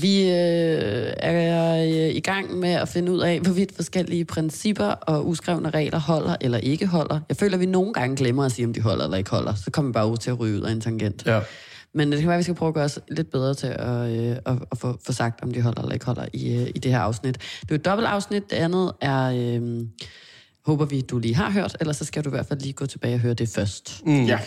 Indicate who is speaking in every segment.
Speaker 1: Vi øh, er øh, i gang med at finde ud af, hvorvidt forskellige principper og uskrevne regler holder eller ikke holder. Jeg føler, at vi nogle gange glemmer at sige, om de holder eller ikke holder. Så kommer vi bare ud til at ryge ud af en tangent.
Speaker 2: Ja.
Speaker 1: Men det kan være, at vi skal prøve at gøre os lidt bedre til at, øh, at, at få, få sagt, om de holder eller ikke holder i, øh, i det her afsnit. Det er jo et dobbelt afsnit. Det andet er, øh, håber vi, du lige har hørt, ellers så skal du i hvert fald lige gå tilbage og høre det først. Mm.
Speaker 2: Ja.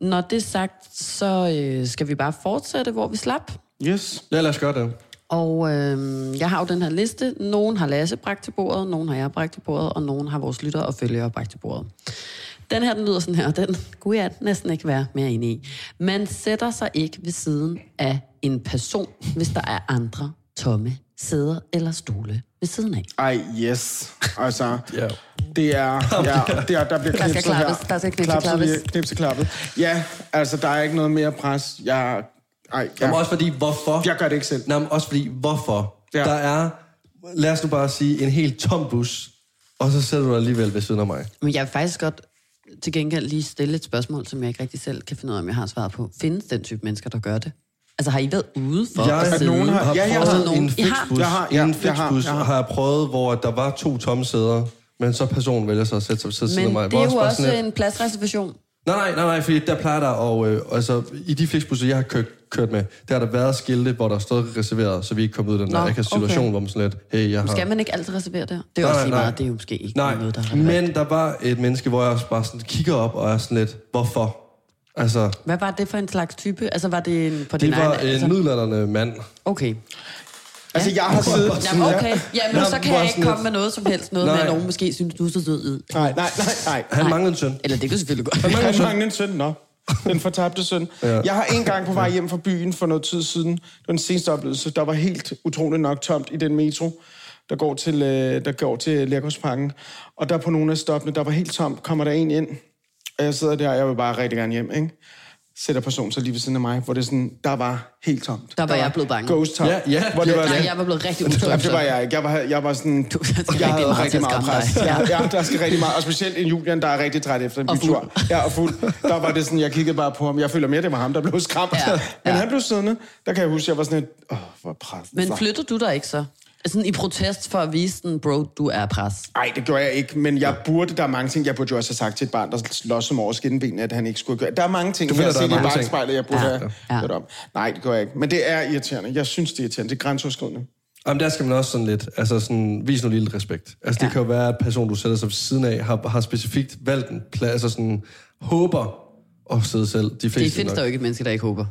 Speaker 1: Når det er sagt, så øh, skal vi bare fortsætte, hvor vi slap.
Speaker 3: Yes.
Speaker 2: ja, lad os gøre det.
Speaker 1: Og øh, jeg har jo den her liste. Nogen har Lasse bragt til bordet, nogen har jeg bragt til bordet, og nogen har vores lyttere og følgere bragt til bordet. Den her, den lyder sådan her, og den kunne jeg næsten ikke være mere enig i. Man sætter sig ikke ved siden af en person, hvis der er andre tomme sæder eller stole ved siden af.
Speaker 3: Ej, yes. Altså,
Speaker 2: Ja.
Speaker 3: det er... Ja, det er der bliver
Speaker 1: skal
Speaker 3: knipset her.
Speaker 1: klappes, der skal knipse
Speaker 3: Klapset,
Speaker 1: klappes.
Speaker 3: ja, knipse klappet. Ja, altså, der er ikke noget mere pres. Jeg...
Speaker 2: Ja.
Speaker 3: Ej,
Speaker 2: Men
Speaker 3: jeg,
Speaker 2: også fordi, hvorfor?
Speaker 3: jeg gør det ikke selv.
Speaker 2: Nej, men også fordi, hvorfor?
Speaker 3: Ja.
Speaker 2: Ja. Der er, lad os nu bare sige, en helt tom bus, og så sætter du dig alligevel ved siden af mig.
Speaker 1: Men jeg vil faktisk godt til gengæld lige stille et spørgsmål, som jeg ikke rigtig selv kan finde ud af, om jeg har svaret på. Findes den type mennesker, der gør det? Altså har I været ude for
Speaker 2: Jeg
Speaker 1: at
Speaker 2: har,
Speaker 1: sidde?
Speaker 3: nogen har-
Speaker 2: har
Speaker 3: Ja, jeg
Speaker 2: prøvet
Speaker 1: har.
Speaker 2: en
Speaker 1: I har.
Speaker 2: flixbus.
Speaker 3: Jeg har, ja,
Speaker 2: I en
Speaker 3: jeg har,
Speaker 2: flixbus
Speaker 3: jeg har.
Speaker 2: har. jeg prøvet, hvor der var to tomme sæder, men så personen vælger sig at sætte sig ved siden af
Speaker 1: Men
Speaker 2: mig.
Speaker 1: det
Speaker 2: Hvor
Speaker 1: er jo
Speaker 2: bare
Speaker 1: også
Speaker 2: sådan lidt-
Speaker 1: en pladsreservation.
Speaker 2: Nej, nej, nej, nej, fordi der plejer der, og øh, altså, i de flixbusser, jeg har kørt, kørt med, der har der været skilte, hvor der stod reserveret, så vi ikke kom ud af den
Speaker 1: Nå,
Speaker 2: der akavet situation,
Speaker 1: okay.
Speaker 2: hvor man sådan lidt, hey, jeg har...
Speaker 1: Skal man ikke altid reservere der? Det er også lige meget, det er jo måske ikke
Speaker 2: nej,
Speaker 1: noget, der er relevant.
Speaker 2: men der var et menneske, hvor jeg også bare sådan kigger op og er sådan lidt, hvorfor? Altså,
Speaker 1: Hvad var det for en slags type? Altså var det en, på din
Speaker 2: det var
Speaker 1: egen...
Speaker 2: en middelalderne mand.
Speaker 1: Okay.
Speaker 3: Altså, jeg har siddet...
Speaker 1: Jamen, okay. Jamen, så
Speaker 2: Nå,
Speaker 1: kan
Speaker 2: bare
Speaker 1: jeg ikke
Speaker 2: sådan
Speaker 1: komme med noget som helst. Noget
Speaker 2: Nej.
Speaker 1: med, at nogen måske synes, du er så sød ud.
Speaker 3: Nej, nej, nej, nej.
Speaker 2: Han manglede en søn.
Speaker 1: Eller det kan du selvfølgelig godt.
Speaker 2: Han
Speaker 3: Han
Speaker 2: manglede en søn.
Speaker 3: manglede en søn, nå. Den fortabte søn. Ja. Jeg har en gang på vej hjem fra byen for noget tid siden, det var den seneste oplevelse, der var helt utroligt nok tomt i den metro, der går til, øh, der går til Lærgårdsparken. Og der på nogle af stoppene, der var helt tomt, kommer der en ind. Og jeg sidder der, og jeg vil bare rigtig gerne hjem, ikke? Sætter personen så lige ved siden af mig, hvor det sådan, der var helt tomt.
Speaker 1: Der var jeg blevet bange.
Speaker 3: Ghost tomt.
Speaker 2: Ja, ja,
Speaker 3: hvor det
Speaker 2: ja,
Speaker 3: var
Speaker 2: ja.
Speaker 3: sådan,
Speaker 1: Nej, jeg var blevet rigtig
Speaker 3: Jamen, det var
Speaker 1: ustrømsom.
Speaker 3: jeg ikke. Jeg var, jeg var sådan...
Speaker 1: Du- der skal
Speaker 3: jeg
Speaker 1: rigtig
Speaker 3: havde
Speaker 1: meget
Speaker 3: rigtig
Speaker 1: til at
Speaker 3: meget
Speaker 1: skræmme
Speaker 3: pres.
Speaker 1: dig.
Speaker 3: Ja. ja, der skal rigtig meget. Og specielt en Julian, der er rigtig træt efter en
Speaker 1: Og fuld.
Speaker 3: bytur. Ja, og fuld. Der var det sådan, jeg kiggede bare på ham. Jeg føler mere, det var ham, der blev skræmt.
Speaker 1: Ja,
Speaker 3: Ja.
Speaker 1: ja.
Speaker 3: Men han blev siddende. Der kan jeg huske, jeg var sådan et... Åh, oh, hvor presset.
Speaker 1: Men flyttede du dig ikke så? Sådan i protest for at vise den, bro, du er pres.
Speaker 3: Nej, det gjorde jeg ikke, men jeg burde, der er mange ting, jeg burde jo også have sagt til et barn, der slås om over skinnebenet, at han ikke skulle gøre. Der er mange ting,
Speaker 2: Du finder,
Speaker 3: jeg
Speaker 2: der
Speaker 3: har
Speaker 2: er
Speaker 3: set i
Speaker 2: mange ting.
Speaker 3: bagspejlet, jeg burde
Speaker 1: Ja.
Speaker 3: have
Speaker 1: Ja.
Speaker 3: ja. om. Nej, det gjorde jeg ikke. Men det er irriterende. Jeg synes, det er irriterende. Det er grænseoverskridende.
Speaker 2: Jamen, der skal man også sådan lidt, altså sådan, vis nu lille respekt. Altså, det
Speaker 1: Ja.
Speaker 2: kan jo være, at personen, du sætter sig ved siden af, har, har specifikt valgt en plads, altså sådan, håber at sidde selv. De fleste
Speaker 1: Det findes der jo ikke et menneske, der ikke håber.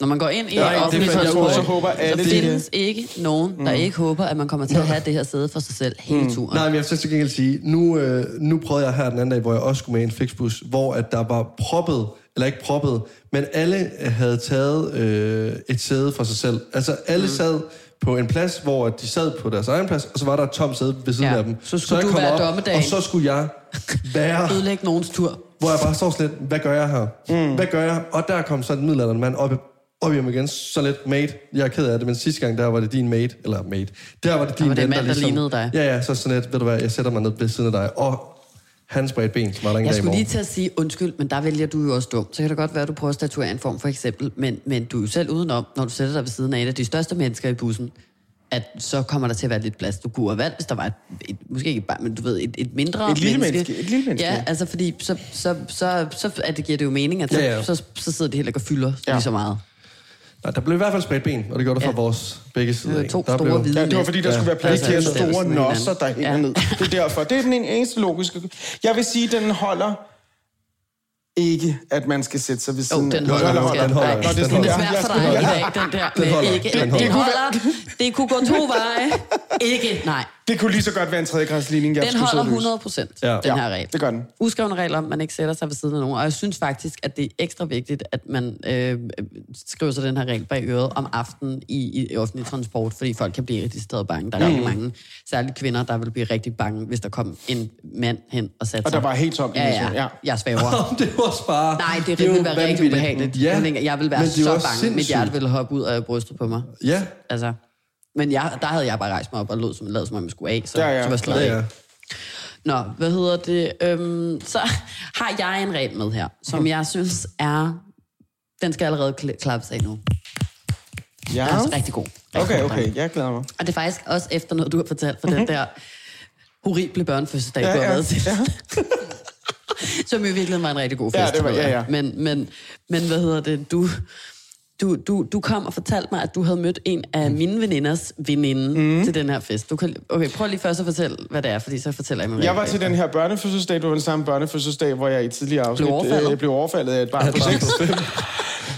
Speaker 1: Når man går ind i
Speaker 2: Nej,
Speaker 1: et
Speaker 2: det
Speaker 1: offentligt
Speaker 2: finder jeg ud
Speaker 1: transport,
Speaker 2: af.
Speaker 1: så,
Speaker 2: Så håber
Speaker 3: alle
Speaker 1: så
Speaker 3: det.
Speaker 1: findes ikke nogen, der ikke håber, at man kommer til at have det her sæde for sig selv hele turen.
Speaker 2: Nej, men jeg vil så til gengæld sige, nu, øh, nu prøvede jeg her den anden dag, hvor jeg også skulle med i en flixbus, hvor at der var proppet, eller ikke proppet, men alle havde taget øh, et sæde for sig selv. Altså alle mm. sad på en plads, hvor de sad på deres egen plads, og så var der et tomt sæde ved siden
Speaker 1: Ja.
Speaker 2: ja. af dem.
Speaker 1: Så skulle
Speaker 2: jeg
Speaker 1: du
Speaker 2: kom
Speaker 1: være dommedagen.
Speaker 2: Og så skulle jeg være,
Speaker 1: Ødelægge nogens tur.
Speaker 2: hvor jeg bare står sådan lidt, hvad gør jeg her? Mm. Hvad gør jeg? Og der kom så en middelalderen mand op, op hjem igen, så lidt mate. Jeg er ked af det, men sidste gang, der var det din mate, eller mate. Der var det din
Speaker 1: var det en
Speaker 2: ven,
Speaker 1: mand, der lignede dig.
Speaker 2: Ja, ja, så sådan lidt, ved du hvad, jeg sætter mig ned ved siden af dig. Og han spredte ben, som var der en
Speaker 1: Jeg
Speaker 2: dag i
Speaker 1: skulle
Speaker 2: morgen.
Speaker 1: lige til at sige undskyld, men der vælger du jo også dumt. Så kan det godt være, at du prøver at statuere en form for eksempel, men, men du er jo selv udenom, når du sætter dig ved siden af et af de største mennesker i bussen, at så kommer der til at være lidt plads. Du kunne have valgt, hvis der var et, et måske ikke bare, men du ved, et, et mindre
Speaker 3: Et lille
Speaker 1: menneske.
Speaker 3: menneske, et lille menneske.
Speaker 1: Ja, altså fordi så, så, så, så at det giver det jo mening, at så,
Speaker 2: Ja, ja.
Speaker 1: så, så sidder det heller ikke og fylder ja.
Speaker 3: Ja.
Speaker 1: lige så meget.
Speaker 2: Nej, der blev i hvert fald spredt ben, og det gjorde der fra
Speaker 1: Ja.
Speaker 2: vores begge sider.
Speaker 1: Øh,
Speaker 2: ikke?
Speaker 1: to
Speaker 2: der
Speaker 1: store hvide
Speaker 3: Ja, det var fordi, der
Speaker 2: Ja.
Speaker 3: skulle være plads
Speaker 1: Ja.
Speaker 3: til de her
Speaker 1: Altså,
Speaker 3: store
Speaker 1: sådan en
Speaker 3: nosser, der
Speaker 1: anden.
Speaker 3: hænger
Speaker 1: Ja.
Speaker 3: ned. Det er derfor. Det er den eneste logiske... Jeg vil sige, den holder ikke, at man skal sætte sig ved
Speaker 1: Jo,
Speaker 3: siden
Speaker 1: øh, den
Speaker 3: af-
Speaker 1: holder.
Speaker 2: den
Speaker 1: skat.
Speaker 2: holder, den holder.
Speaker 1: Nej,
Speaker 2: Nå,
Speaker 3: det er
Speaker 1: Den
Speaker 3: sådan,
Speaker 1: er
Speaker 3: ja,
Speaker 1: svært
Speaker 3: jeg
Speaker 1: for
Speaker 3: skal-
Speaker 1: dig i
Speaker 3: ja.
Speaker 1: dag, den der.
Speaker 2: Den
Speaker 1: med
Speaker 2: holder.
Speaker 1: Ikke,
Speaker 2: Den
Speaker 1: det
Speaker 2: holder.
Speaker 1: holder. Det kunne gå to veje. Ikke, nej.
Speaker 3: Det kunne lige så godt være en tredjegradsligning, jeg
Speaker 1: Den
Speaker 3: skulle
Speaker 1: holder
Speaker 3: sidde og løse.
Speaker 1: 100 procent, ja.
Speaker 2: Ja.
Speaker 1: den her
Speaker 3: Ja,
Speaker 1: regel.
Speaker 3: det gør den.
Speaker 1: Uskrevne regler om, at man ikke sætter sig ved siden af nogen. Og jeg synes faktisk, at det er ekstra vigtigt, at man øh, skriver sig den her regel bag øret om aftenen i, i offentlig transport, fordi folk kan blive rigtig stadig bange. Der er mm. rigtig mange, særligt kvinder, der vil blive rigtig bange, hvis der kom en mand hen og satte
Speaker 3: Og
Speaker 1: sig.
Speaker 3: der var helt tomt i
Speaker 1: ja,
Speaker 3: metroen,
Speaker 1: ja,
Speaker 3: ja.
Speaker 1: ja. Jeg svæver.
Speaker 2: Om det var også bare...
Speaker 1: Nej, det,
Speaker 2: er
Speaker 1: det
Speaker 2: jo
Speaker 1: ville være rigtig
Speaker 2: vanvittigt.
Speaker 1: ubehageligt.
Speaker 2: Ja.
Speaker 1: Jeg tænker, Jeg ville være
Speaker 2: men det er
Speaker 1: så
Speaker 2: jo
Speaker 1: bange.
Speaker 2: også
Speaker 1: Mit hjerte
Speaker 2: sindssygt.
Speaker 1: ville hoppe ud af brystet på mig.
Speaker 2: Ja,
Speaker 1: Altså, men jeg, der havde jeg bare rejst mig op og lød som, lavet, som om jeg skulle af, så,
Speaker 3: Ja, ja.
Speaker 1: så var jeg slået
Speaker 2: ja,
Speaker 1: af.
Speaker 2: ja.
Speaker 1: Nå, hvad hedder det? Øhm, så har jeg en regel med her, som jeg synes er... Den skal allerede kla- klappes af nu. Ja. Den er altså rigtig god. Rigtig
Speaker 3: Okay,
Speaker 1: god
Speaker 3: okay, jeg glæder mig.
Speaker 1: Og det er faktisk også efter noget, du har fortalt for den der horrible børnefødselsdag, ja,
Speaker 3: Mhm. Ja,
Speaker 1: du har
Speaker 3: ja,
Speaker 1: været til.
Speaker 3: ja.
Speaker 1: Som i virkeligheden var en rigtig god fest.
Speaker 3: Ja, det var-
Speaker 1: ved jeg.
Speaker 3: ja, ja.
Speaker 1: Men, men, men hvad hedder det, du... Du, du, du kom og fortalte mig, at du havde mødt en
Speaker 3: Mm.
Speaker 1: af mine veninders veninde mm. til den her fest. Du kan, okay, prøv lige først at fortælle, hvad det er, fordi så fortæller jeg mig. hvad
Speaker 3: Jeg var
Speaker 1: det er.
Speaker 3: til den her børnefødselsdag, det var den samme børnefødselsdag, hvor jeg i tidligere afsnit
Speaker 1: Blev overfaldet.
Speaker 3: øh, blev overfaldet af et barn på seks.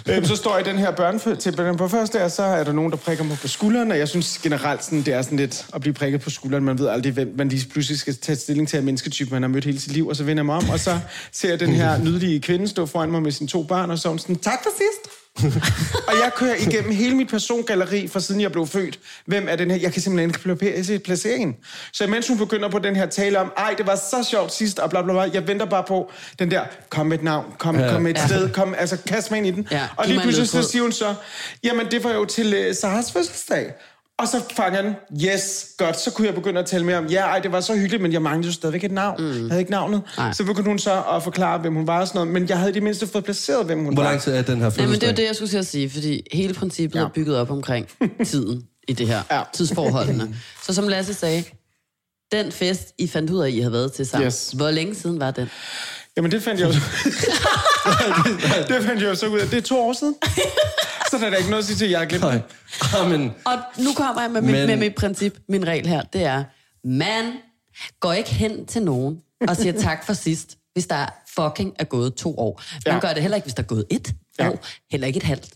Speaker 3: Øhm, så står jeg i den her børnefødselsdag til børn på første dag, og så er der nogen, der prikker mig på skulderen, og jeg synes generelt, sådan, det er sådan lidt at blive prikket på skulderen. Man ved aldrig, hvem man lige pludselig skal tage stilling til af mennesketype, man har mødt hele sit liv, og så vender jeg mig om, og så ser jeg den her nydelige kvinde stå foran mig med sine to børn, og så er hun sådan, tak for sidst. og jeg kører igennem hele mit persongalleri fra siden jeg blev født. Hvem er den her? Jeg kan simpelthen ikke pla- se placeringen. Så mens hun begynder på den her tale om, ej, det var så sjovt sidst, og bla bla bla, jeg venter bare på den der, kom med et navn, kom,
Speaker 2: Ja.
Speaker 3: ja. kom med et
Speaker 1: Ja.
Speaker 3: sted, kom, altså kast mig ind i den.
Speaker 1: Ja,
Speaker 3: og
Speaker 1: giv
Speaker 3: lige
Speaker 1: mig en
Speaker 3: pludselig så
Speaker 1: ledtråd.
Speaker 3: siger hun så, jamen det var jo til øh, Saras fødselsdag. Og så fanger den, yes, godt, så kunne jeg begynde at tale mere om, ja, ej, det var så hyggeligt, men jeg manglede jo stadigvæk et navn. Mm. Jeg havde ikke navnet.
Speaker 1: Nej.
Speaker 3: Nej. Så begyndte hun så at forklare, hvem hun var og sådan noget, men jeg havde i det mindste fået placeret, hvem hun
Speaker 2: Hvor
Speaker 3: var.
Speaker 2: lang tid er den her fødselsdag?
Speaker 1: Nej, men det er jo det, jeg skulle til at sige, fordi hele princippet ja. er bygget op omkring tiden i det her, ja.
Speaker 3: Ja.
Speaker 1: tidsforholdene. Så som Lasse sagde, den fest, I fandt ud af, I havde været til sammen, yes.
Speaker 3: Yes.
Speaker 1: hvor længe siden var den?
Speaker 3: Jamen, det fandt jeg jo... det fandt jeg jo så ud af. Det er to år siden. Så der er der ikke noget at sige til, at jeg har glemt.
Speaker 2: Nej. Ah, men,
Speaker 1: Og nu kommer jeg med, mit, Men...
Speaker 2: Men-
Speaker 1: med mit princip, min regel her, det er, man går ikke hen til nogen og siger tak for sidst, hvis der fucking er gået to år. Man ja.
Speaker 3: Ja.
Speaker 1: gør det heller ikke, hvis der er gået et ja.
Speaker 3: Ja.
Speaker 1: år, heller ikke et halvt.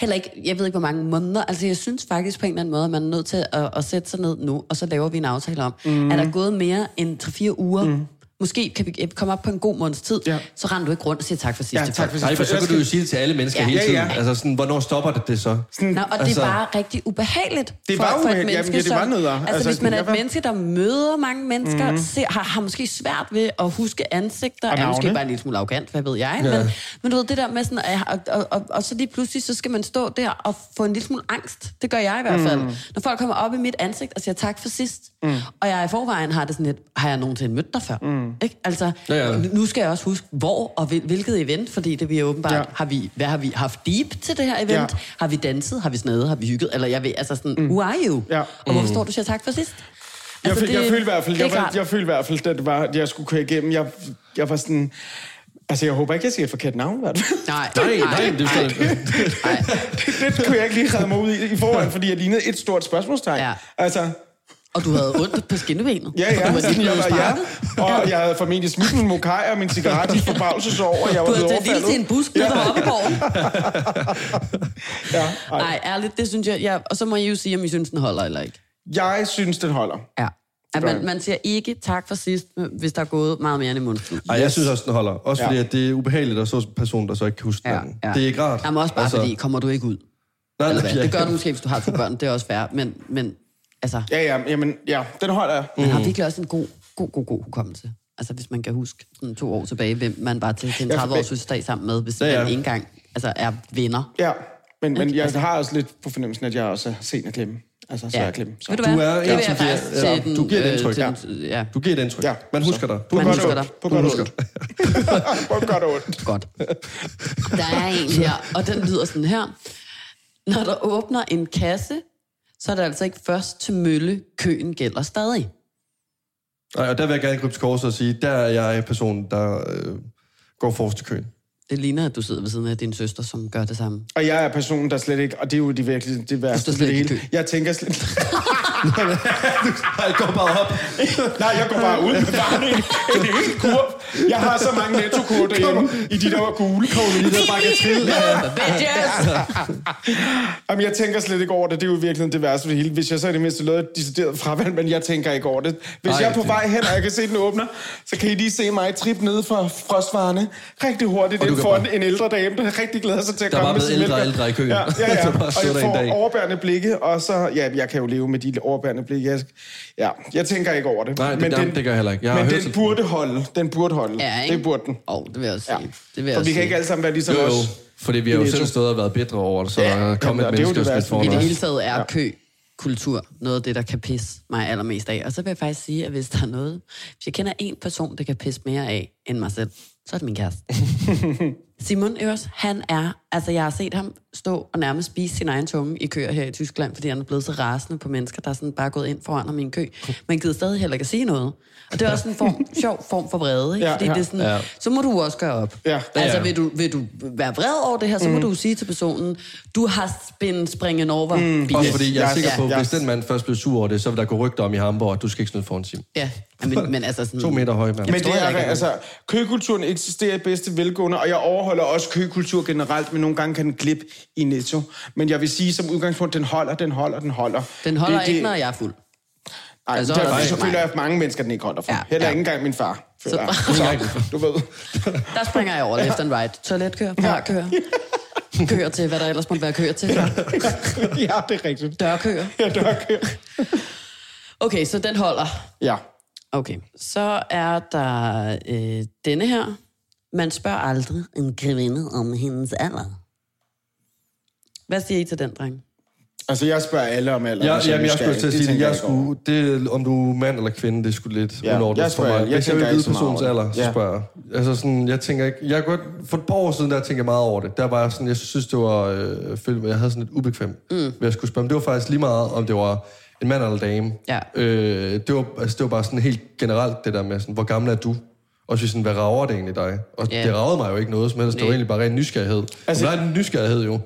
Speaker 1: Heller ikke, jeg ved ikke, hvor mange måneder. Altså, jeg synes faktisk på en eller anden måde, at man er nødt til at, at sætte sig ned nu, og så laver vi en aftale om, mm. er der gået mere end 3-4 uger, mm. måske kan vi komme op på en god måneds tid, ja.
Speaker 3: Ja.
Speaker 1: så render du ikke rundt og siger tak for sidst.
Speaker 3: Ja,
Speaker 1: til
Speaker 3: tak
Speaker 1: folk.
Speaker 3: for
Speaker 2: nej, for så kan du jo sige det til alle mennesker ja. hele
Speaker 3: Ja,
Speaker 2: tiden.
Speaker 3: ja.
Speaker 2: Altså sådan, hvornår stopper det, det så?
Speaker 1: Nå, og altså,
Speaker 2: Altså-
Speaker 1: det er bare rigtig ubehageligt
Speaker 3: Det er
Speaker 1: for,
Speaker 3: bare
Speaker 1: for et
Speaker 3: ubehageligt.
Speaker 1: menneske,
Speaker 3: Jamen, ja, det Mhm. var
Speaker 1: som,
Speaker 3: nederen.
Speaker 1: Altså, altså
Speaker 3: Altså,
Speaker 1: hvis man er et
Speaker 3: jeg var-
Speaker 1: menneske, der møder mange mennesker, mm-hmm. ser, har, har måske svært ved at huske ansigter, er
Speaker 3: navne.
Speaker 1: måske bare en lille smule arrogant, hvad ved jeg, ja.
Speaker 2: Ja.
Speaker 1: men, men du ved, det der med sådan, at- og, og, og, og så lige pludselig, så skal man stå der og få en lille smule angst, det gør jeg i hvert fald, mm. når folk kommer op i mit ansigt og siger tak for sidst, mm. og jeg i forvejen har det sådan lidt, har jeg nogensinde mødt dig før? Mm. Ikke? Altså,
Speaker 2: Ja, ja.
Speaker 1: nu skal jeg også huske, hvor og hvil- hvilket event, fordi det vi jo åbenbart, ja.
Speaker 3: Ja.
Speaker 1: har vi, hvad har vi haft deep til det her event?
Speaker 3: Ja.
Speaker 1: Ja. Har vi danset? Har vi snedet? Har vi hygget? Eller jeg ved, altså sådan, mm. who are you?
Speaker 3: Ja. Mm.
Speaker 1: Og hvorfor står du og siger tak for sidst?
Speaker 3: Jeg, føl, jeg følte i hvert
Speaker 1: Altså,
Speaker 3: fald,
Speaker 1: det er
Speaker 3: jeg,
Speaker 1: ikke
Speaker 3: jeg,
Speaker 1: rart.
Speaker 3: jeg følte i hvert fald, at det var, at jeg skulle køre igennem. Jeg, jeg var sådan... Altså, jeg håber ikke, jeg siger et forkert navn, i hvert fald.
Speaker 1: Nej,
Speaker 2: Nej, nej, det er
Speaker 3: Det, det kunne jeg ikke lige redde mig ud i, i forvejen, fordi jeg lignede et stort spørgsmålstegn.
Speaker 1: Ja.
Speaker 3: Altså,
Speaker 1: Og du havde ondt på skinnebenet.
Speaker 3: ja,
Speaker 1: for Du
Speaker 3: ja.
Speaker 1: var lige
Speaker 3: Sådan, jeg
Speaker 1: blevet
Speaker 3: var, ja.
Speaker 1: sparket.
Speaker 3: Og jeg havde formentlig smidt min mokai og min cigaret i forbavselse over, at jeg var
Speaker 1: Du havde
Speaker 3: blevet
Speaker 1: taget lille til en
Speaker 3: overfaldet.
Speaker 1: bus, når du var oppe i gården.
Speaker 3: Ja, ej.
Speaker 1: Nej, ærligt, det synes jeg... Ja. Og så må I jo sige, om I synes, den holder eller ikke.
Speaker 3: Jeg synes, den holder.
Speaker 1: Ja. At
Speaker 3: gør
Speaker 1: man,
Speaker 3: jeg.
Speaker 1: man siger ikke tak for sidst, hvis der er gået meget mere end en måned.
Speaker 2: Ej, jeg synes også, den holder. Også
Speaker 3: Ja.
Speaker 2: fordi, at det er ubehageligt at så en person, der så ikke kan huske ja, ja. Det er ikke rart.
Speaker 1: Jamen også bare, altså... fordi kommer du ikke ud?
Speaker 2: nej,
Speaker 1: Eller
Speaker 2: nej,
Speaker 1: hvad?
Speaker 2: ja.
Speaker 1: Det gør du måske, hvis du har to børn. Det er også fair. Men, men altså,
Speaker 3: Ja, ja, jamen, ja, den holder jeg.
Speaker 1: Man har virkelig også en god, god, god, god hukommelse. Altså hvis man kan huske sådan to år tilbage, hvem man var til, til en
Speaker 3: Ja,
Speaker 1: 30-års
Speaker 3: for-
Speaker 1: fødselsdag sammen med, hvis ja,
Speaker 2: Ja,
Speaker 1: ja.
Speaker 2: ja.
Speaker 1: man ikke engang altså, er venner.
Speaker 3: Ja, men, men jeg har også lidt på fornemmelsen, at jeg også er sen at glemme. Altså, så ja. jeg glemme. Så.
Speaker 1: Ved du,
Speaker 2: Du
Speaker 1: hvad?
Speaker 2: er
Speaker 1: det vil
Speaker 2: en,
Speaker 1: jeg
Speaker 2: som giver-
Speaker 1: faktisk
Speaker 2: ja,
Speaker 1: til den...
Speaker 2: du giver et
Speaker 1: øh,
Speaker 2: indtryk,
Speaker 1: til den- ja.
Speaker 2: Du giver et indtryk.
Speaker 3: Ja.
Speaker 2: Man husker dig.
Speaker 3: På
Speaker 1: Man
Speaker 3: godt
Speaker 1: husker
Speaker 3: og
Speaker 1: dig.
Speaker 3: ondt. På
Speaker 2: Du
Speaker 3: godt og
Speaker 2: husker
Speaker 3: ondt. På godt og ondt.
Speaker 1: Godt. Der er en her, og den lyder sådan her. Når der åbner en kasse, så er det altså ikke først til mølle, køen gælder stadig.
Speaker 2: Ej, og der vil jeg gerne krybe til korset og sige, der er jeg personen, der øh, går forrest i køen.
Speaker 1: Det ligner, at du sidder ved siden af din søster, som gør det samme.
Speaker 3: Og jeg er personen, der slet ikke... Og det er jo det virkelig det værste
Speaker 1: Du står Altså, slet
Speaker 3: ved det
Speaker 1: ikke i
Speaker 3: hele.
Speaker 1: kø.
Speaker 3: Jeg tænker slet...
Speaker 2: Ej, går bare op.
Speaker 3: Nej, jeg går bare ud med bare en, en hel kurv. Jeg har så mange nettokurver derhjemme i de der gule
Speaker 2: Lige der bare kan trille. Ja.
Speaker 1: Yes!
Speaker 3: Jamen, jeg tænker slet ikke over det. Det er jo virkelig det værste ved det hele. Hvis jeg så i det mindste lavede et decideret fravalg, men jeg tænker ikke over det. Hvis
Speaker 2: Ej,
Speaker 3: Ej, jeg er på
Speaker 2: det-
Speaker 3: vej hen, og jeg kan se, den åbner, så kan I lige se mig trippe nede fra frostvarerne rigtig hurtigt
Speaker 2: Og du
Speaker 3: ind
Speaker 2: kan
Speaker 3: foran
Speaker 2: bare-
Speaker 3: en ældre dame, der rigtig glæder sig til at
Speaker 2: Der er
Speaker 3: komme
Speaker 2: bare
Speaker 3: med
Speaker 2: blevet
Speaker 3: sin
Speaker 2: ældre og
Speaker 3: mælk.
Speaker 2: ældre i køen.
Speaker 3: Ja, ja, ja.
Speaker 2: Så bare
Speaker 3: og
Speaker 2: sidder
Speaker 3: jeg
Speaker 2: der en
Speaker 3: får
Speaker 2: dag.
Speaker 3: overbærende blikke, og så... Ja, jeg kan jo leve med de overbærende blikke. Jeg, ja, jeg tænker ikke over det.
Speaker 2: Nej, det- jamen, det gør jeg heller ikke. Jeg har
Speaker 3: men
Speaker 2: hørt
Speaker 3: den
Speaker 2: til-
Speaker 3: burde holde. Den burde holde.
Speaker 1: Ja, ikke?
Speaker 3: det burde den.
Speaker 1: Åh, oh, det vil jeg også sige.
Speaker 3: Ja.
Speaker 1: Ja. Det vil jeg
Speaker 3: For
Speaker 1: også
Speaker 3: vi kan
Speaker 1: sige.
Speaker 3: ikke alle sammen være ligesom
Speaker 2: Jo, jo.
Speaker 3: os.
Speaker 2: Fordi vi har jo
Speaker 3: Lige
Speaker 2: selv
Speaker 3: så.
Speaker 2: stået og været bedre over det, så
Speaker 3: Ja,
Speaker 2: ja, kom
Speaker 3: jamen,
Speaker 2: et
Speaker 3: og det er jo
Speaker 2: menneske og
Speaker 3: det
Speaker 2: smidt
Speaker 3: værste.
Speaker 2: foran
Speaker 1: I det
Speaker 2: os.
Speaker 1: hele taget er køkultur noget af det, der kan pisse mig allermest af. Og så vil jeg faktisk sige, at hvis der er noget... Hvis jeg kender en person, der kan pisse mere af end mig selv, så er det min kæreste. Simon Øres, han er, altså jeg har set ham stå og nærmest spise sin egen tunge i køer her i Tyskland, fordi han er blevet så rasende på mennesker, der er sådan bare gået ind foran ham i en kø. Men gider stadig heller ikke at sige noget. Og det er også en form, sjov form for vrede, ikke?
Speaker 3: Ja,
Speaker 1: Fordi
Speaker 3: ja.
Speaker 1: det er sådan,
Speaker 2: Ja.
Speaker 1: så må du også gøre op.
Speaker 3: Ja.
Speaker 1: Altså
Speaker 2: Ja.
Speaker 1: vil du, vil du være vred over det her, så må du sige til personen, du har spændt springen over. Mm.
Speaker 2: Også fordi jeg er
Speaker 3: Yes,
Speaker 2: sikker
Speaker 3: yes,
Speaker 2: på, at hvis
Speaker 3: yes.
Speaker 2: den mand først blev sur over det, så vil der gå rygter om i Hamburg, at du skal ikke snyde foran Sim.
Speaker 1: Ja, men, men altså sådan...
Speaker 2: To meter høj, mand.
Speaker 3: Men
Speaker 1: tror
Speaker 3: det
Speaker 1: jeg
Speaker 3: er,
Speaker 1: ikke, at-
Speaker 3: altså, køkulturen eksisterer i bedste velgående, og jeg overholder også køkultur generelt, men nogle gange kan den glip i netto. Men jeg vil sige, som udgangspunkt, den holder, den holder, den holder.
Speaker 1: Den holder
Speaker 3: det,
Speaker 1: det, ikke, når jeg er fuld.
Speaker 3: Nej,
Speaker 1: Altså,
Speaker 3: altså,
Speaker 1: så er der
Speaker 3: der,
Speaker 1: faktisk
Speaker 3: så
Speaker 1: mig.
Speaker 3: føler jeg, at mange mennesker, den ikke holder for.
Speaker 1: Ja,
Speaker 3: Ja, Heller
Speaker 1: ja.
Speaker 3: ikke engang min far.
Speaker 1: Så-
Speaker 3: føler jeg. Så, du ved.
Speaker 1: Der springer jeg over left and right. Toiletkøer, parkøer, køer til, hvad der ellers måtte være køer til.
Speaker 3: ja, det er rigtigt.
Speaker 1: Dørkøer.
Speaker 3: Ja, dør kører.
Speaker 1: Okay, så den holder.
Speaker 3: Ja.
Speaker 1: Okay, så er der øh, denne her. Man spørger aldrig en kvinde om hendes alder. Hvad siger I til den, dreng?
Speaker 3: Altså, jeg spørger alle om alder.
Speaker 2: Ja,
Speaker 3: hvis
Speaker 2: jamen, jeg
Speaker 3: nysgerrig.
Speaker 2: skulle til at
Speaker 3: Det
Speaker 2: sige, det.
Speaker 3: tænker
Speaker 2: jeg
Speaker 3: ikke over.
Speaker 2: skulle, det, om du er mand eller kvinde, det skulle lidt
Speaker 3: Ja,
Speaker 2: ja,
Speaker 3: jeg
Speaker 2: unordet for
Speaker 3: spørger-
Speaker 2: mig.
Speaker 3: jeg
Speaker 2: Hvis jeg
Speaker 3: tænker
Speaker 2: vil vide
Speaker 3: ikke så meget
Speaker 2: persons
Speaker 3: over det.
Speaker 2: alder, så
Speaker 3: Ja.
Speaker 2: spørger jeg. Altså sådan, jeg tænker ikke, jeg kan godt, for et par år siden, der tænkte jeg meget over det. Der var jeg sådan, jeg synes, det var, øh, følte, jeg havde sådan et ubekvemt, mm. ved at skulle spørge. Men det var faktisk lige meget, om det var en mand eller en dame.
Speaker 1: Ja.
Speaker 2: Øh, det, var, altså, det var bare sådan helt generelt, det der med sådan, hvor gammel er du? Og så sådan, hvad rager det egentlig dig? Og
Speaker 1: Ja.
Speaker 2: yeah. det ragede mig jo ikke noget som helst. Det var
Speaker 1: Nej.
Speaker 2: egentlig bare ren nysgerrighed.
Speaker 3: Altså-
Speaker 2: Altså, det var en nysgerrighed jo.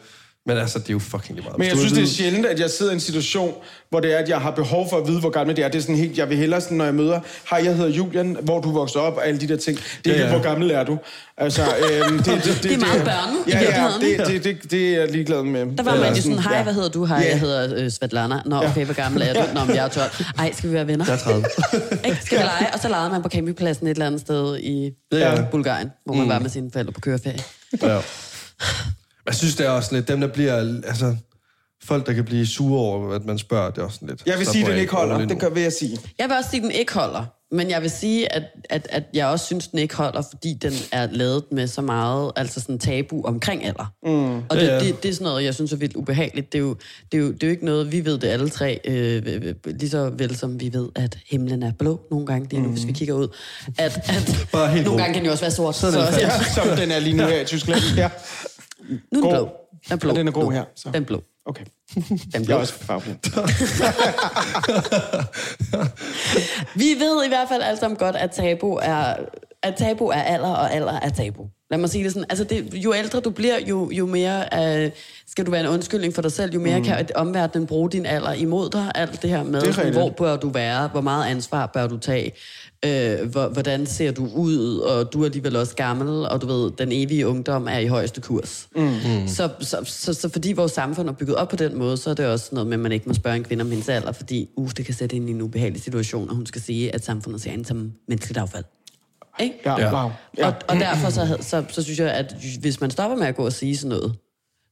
Speaker 2: Men altså, det er jo fucking lige meget.
Speaker 3: Men
Speaker 2: Hvis
Speaker 3: jeg
Speaker 2: du vil
Speaker 3: synes, det er
Speaker 2: vide-
Speaker 3: sjældent, at jeg sidder i en situation, hvor det er, at jeg har behov for at vide, hvor gammel det er. Det er sådan helt, jeg vil hellere sådan, når jeg møder, hej, jeg hedder Julian, hvor du voksede op, og alle de der ting. Det er
Speaker 2: Ja,
Speaker 3: ikke,
Speaker 2: ja.
Speaker 3: hvor gammel er du? Altså, øhm, det, det, det,
Speaker 1: Det er meget børnet, i
Speaker 3: Ja, ja,
Speaker 1: virkeligheden.
Speaker 3: det, det, det, det er jeg ligeglad med.
Speaker 1: Der var man jo sådan, hej, hvad hedder du? Hej,
Speaker 3: Ja.
Speaker 1: jeg hedder øh, Svetlana. Nå, okay, hvor gammel er du? Nå, men jeg er 12. Ej, skal vi være venner?
Speaker 2: Jeg er 30.
Speaker 1: Ikke? Skal vi lege? Og så legede man på campingpladsen et eller andet sted i
Speaker 2: Ja.
Speaker 1: Bulgarien, hvor man var med sine forældre på køreferie.
Speaker 2: Ja. Jeg synes, det er også lidt dem, der bliver... Altså, folk, der kan blive sure over, at man spørger, det er også sådan lidt...
Speaker 3: Jeg vil
Speaker 2: slap
Speaker 3: sige,
Speaker 2: nu
Speaker 3: den
Speaker 2: af,
Speaker 3: ikke holder.
Speaker 2: rolig nu.
Speaker 3: Det gør, vil jeg sige.
Speaker 1: Jeg vil også sige, at den ikke holder. Men jeg vil sige, at, at, at jeg også synes, den ikke holder, fordi den er lavet med så meget altså sådan tabu omkring alder. Mm. Og det,
Speaker 2: Ja, ja.
Speaker 1: det, det er sådan noget, jeg synes er vildt ubehageligt. Det er jo, det er jo, det er jo ikke noget, vi ved det alle tre, øh, øh, lige så vel som vi ved, at himlen er blå nogle gange lige nu, mm. hvis vi kigger ud. At, at
Speaker 2: Bare
Speaker 1: nogle
Speaker 2: helt blå.
Speaker 1: gange kan den jo også være sort. Så, så
Speaker 2: den
Speaker 1: også,
Speaker 2: fast.
Speaker 1: ja.
Speaker 3: Ja, som den er lige nu her i Tyskland. Ja.
Speaker 1: Nu er den
Speaker 3: Grå.
Speaker 1: blå. Den er blå.
Speaker 3: Ja, den er grå
Speaker 1: nu.
Speaker 3: her, så.
Speaker 1: Den er blå.
Speaker 3: Okay.
Speaker 1: Den er
Speaker 3: Jeg er
Speaker 1: blå.
Speaker 3: også farveblind.
Speaker 1: Vi ved i hvert fald alle sammen godt, at tabu er, at tabu er alder, og alder er tabu. Lad mig sige det sådan. Altså det, jo ældre du bliver, jo, jo mere øh, skal du være en undskyldning for dig selv, jo mere mm. kan omverdenen bruge din alder imod dig. Alt det her med,
Speaker 3: Det er
Speaker 1: sådan,
Speaker 3: rigtigt.
Speaker 1: hvor bør du være, hvor meget ansvar bør du tage, øh, hvor, hvordan ser du ud, og du er alligevel også gammel, og du ved, den evige ungdom er i højeste kurs. Mm. Så, så, så, så fordi vores samfund er bygget op på den måde, så er det også sådan noget med, at man ikke må spørge en kvinde om hendes alder, fordi uh, det kan sætte hende i en ubehagelig situation, og hun skal sige, at samfundet ser hende som menneskeligt affald. Ikke?
Speaker 3: Ja,
Speaker 2: Ja.
Speaker 3: wow.
Speaker 1: Og, og derfor så, havde- så, så synes jeg, at hvis man stopper med at gå og sige sådan noget,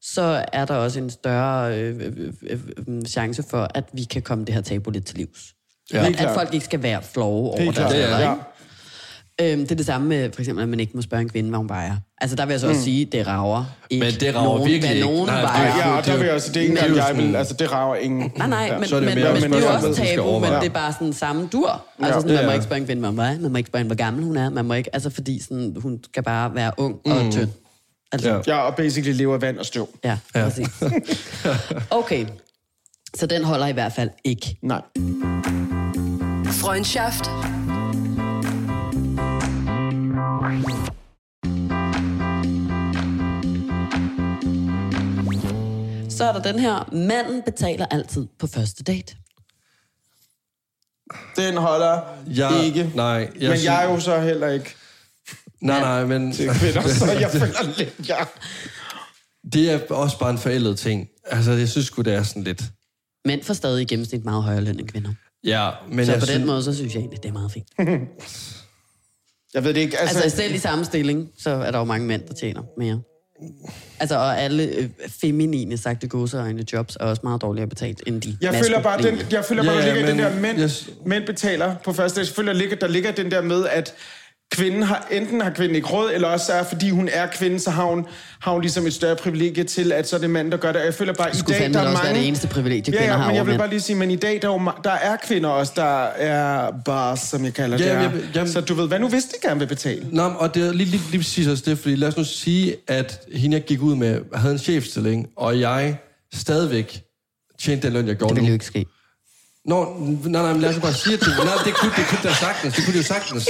Speaker 1: så er der også en større øh, øh, øh, øh, chance for, at vi kan komme det her tabu lidt til livs.
Speaker 2: Ja.
Speaker 1: Ja.
Speaker 2: Det er
Speaker 1: At, at
Speaker 3: klart.
Speaker 1: folk ikke skal være flove over
Speaker 3: Det er
Speaker 1: deres
Speaker 3: klart.
Speaker 2: Ja,
Speaker 1: alder.
Speaker 2: ja.
Speaker 1: ikke? Øhm, det er det samme med, for eksempel, at man ikke må spørge en kvinde, hvad hun vejer. Altså, der vil jeg så også sige, det rager ikke
Speaker 4: Men det rager
Speaker 1: nogen,
Speaker 4: virkelig
Speaker 1: hvad
Speaker 4: ikke.
Speaker 1: nogen
Speaker 4: Nej, det er
Speaker 1: vejer.
Speaker 3: Ja, og der vil jeg også, det er ikke engang,
Speaker 2: Men-
Speaker 3: jeg vil, altså det rager ingen.
Speaker 1: Ah, Nej, nej, men,
Speaker 2: så er det
Speaker 1: men,
Speaker 2: mere
Speaker 1: men,
Speaker 2: et
Speaker 1: det er jo
Speaker 2: spørgsmål,
Speaker 1: også
Speaker 2: du skal
Speaker 1: tabu, men
Speaker 2: overveje.
Speaker 1: det er bare sådan samme dur. Altså sådan,
Speaker 2: Ja,
Speaker 1: man må
Speaker 2: ja.
Speaker 1: ikke spørge en kvinde, hvad hun vejer, man må ikke spørge hende, hvor gammel hun er, man må ikke, altså fordi sådan, hun skal bare være ung og
Speaker 2: Mm.
Speaker 1: tynd. Altså, ja.
Speaker 2: Ja.
Speaker 3: Ja, og basically lever af vand og støv.
Speaker 1: Ja, ja, præcis. Okay, så den holder i hvert fald ikke.
Speaker 3: Nej.
Speaker 5: Freundschaft.
Speaker 1: Så er der den her, manden betaler altid på første date.
Speaker 3: Den holder
Speaker 2: Jeg-
Speaker 3: ikke.
Speaker 2: nej, jeg
Speaker 3: jeg men
Speaker 2: synes-
Speaker 3: jeg er jo så heller ikke
Speaker 2: Nej, nej, men
Speaker 3: til kvinder, så jeg føler lidt, jeg...
Speaker 2: det er også bare en forældet ting. Altså, jeg synes sgu, det er sådan lidt...
Speaker 1: Mænd får stadig i gennemsnit meget højere løn end kvinder.
Speaker 2: Ja, men
Speaker 1: Så
Speaker 2: jeg
Speaker 1: på den
Speaker 2: synes,
Speaker 1: måde, så synes jeg egentlig, det er meget fint.
Speaker 3: Jeg ved det ikke, altså...
Speaker 1: Altså selv i samme stilling, så er der jo mange mænd, der tjener mere. Altså, og alle øh, feminine, sagte gåseøjne jobs, er også meget dårligere betalt end de
Speaker 3: jeg føler bare, den, jeg føler bare,
Speaker 2: Ja,
Speaker 3: der
Speaker 2: ja,
Speaker 3: ligger i den
Speaker 2: men-
Speaker 3: der, mænd,
Speaker 2: yes.
Speaker 3: mænd betaler på første date. Selvfølgelig ligger, der ligger den der med, at kvinden har, enten har kvinden ikke råd, eller også er, fordi hun er kvinde, så har hun, har hun ligesom et større privilegie til, at så er det manden, der gør det. Og jeg føler bare, i
Speaker 1: skulle
Speaker 3: dag,
Speaker 1: fandme
Speaker 3: der
Speaker 1: da
Speaker 3: er
Speaker 1: også
Speaker 3: mange...
Speaker 1: være det eneste privilegie,
Speaker 3: ja,
Speaker 1: kvinder har
Speaker 3: ja, men
Speaker 1: over
Speaker 3: jeg vil
Speaker 1: mænd.
Speaker 3: bare lige sige, men i dag, der er, jo, ma- der er kvinder også, der er bars, som jeg kalder det.
Speaker 2: Jamen,
Speaker 3: er.
Speaker 2: jamen, jamen.
Speaker 3: Så du ved, hvad nu hvis de gerne vil betale?
Speaker 2: Nå, men, og det er lige, lige, lige præcis også det, fordi lad os nu sige, at hende, jeg gik ud med, havde en chefstilling, og jeg stadigvæk tjente den løn, jeg gjorde
Speaker 1: Det
Speaker 2: nu.
Speaker 1: ville jo ikke ske.
Speaker 2: Nå, nej, nej, men lad os bare sige til Nej, det kunne det kunne da sagtens. Det kunne det jo sagtens.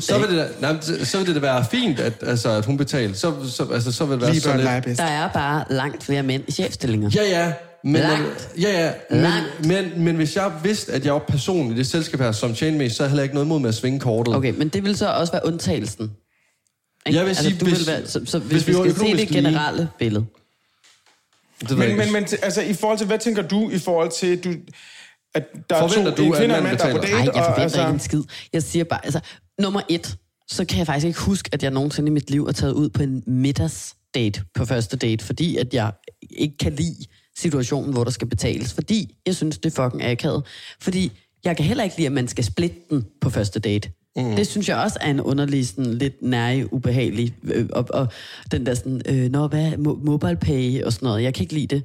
Speaker 2: Så vil det, da, nej, men så- så vil det da være fint, at, altså, at hun betalte. Så, så, altså, så vil det være
Speaker 3: Lige
Speaker 2: så
Speaker 3: børn leger
Speaker 2: lidt.
Speaker 3: bedst.
Speaker 1: Der er bare langt flere mænd i chefstillinger.
Speaker 2: Ja, ja. Men,
Speaker 1: Langt.
Speaker 2: ja, ja. Men,
Speaker 1: Langt.
Speaker 2: men, men, hvis jeg vidste, at jeg var person i det selskab her, som tjente mest, så havde jeg heller ikke noget imod med at svinge kortet.
Speaker 1: Okay, men det vil så også være undtagelsen. Ikke? Altså,
Speaker 2: Jeg vil sige,
Speaker 1: du
Speaker 2: hvis-
Speaker 1: være, så, så hvis,
Speaker 2: hvis
Speaker 1: hvis
Speaker 2: vi
Speaker 1: vi,
Speaker 2: var
Speaker 1: skal se det
Speaker 2: økonomisk lige-
Speaker 1: generelle billede.
Speaker 2: Det ved jeg
Speaker 3: Men,
Speaker 2: ikke.
Speaker 3: men, men t- altså, i forhold til, hvad tænker du i forhold til, du, at der er
Speaker 2: Forventer
Speaker 3: to
Speaker 2: du,
Speaker 3: en
Speaker 2: at
Speaker 3: kvinde og
Speaker 2: manden
Speaker 3: en mand, der er på date?
Speaker 1: Nej,
Speaker 2: betaler?
Speaker 1: jeg forventer
Speaker 3: og,
Speaker 1: altså... ikke en skid. Jeg siger bare, altså, nummer et, så kan jeg faktisk ikke huske, at jeg nogensinde i mit liv er taget ud på en middagsdate på første date, fordi at jeg ikke kan lide situationen, hvor der skal betales, fordi jeg synes, det er fucking akavet. Fordi jeg kan heller ikke lide, at man skal splitte den på første date. Mm. Det synes jeg også er en underlig, sådan lidt nære, ubehagelig, øh, og, og den der sådan, øh, nå, hvad, mo- mobile pay og sådan noget, jeg kan ikke lide det.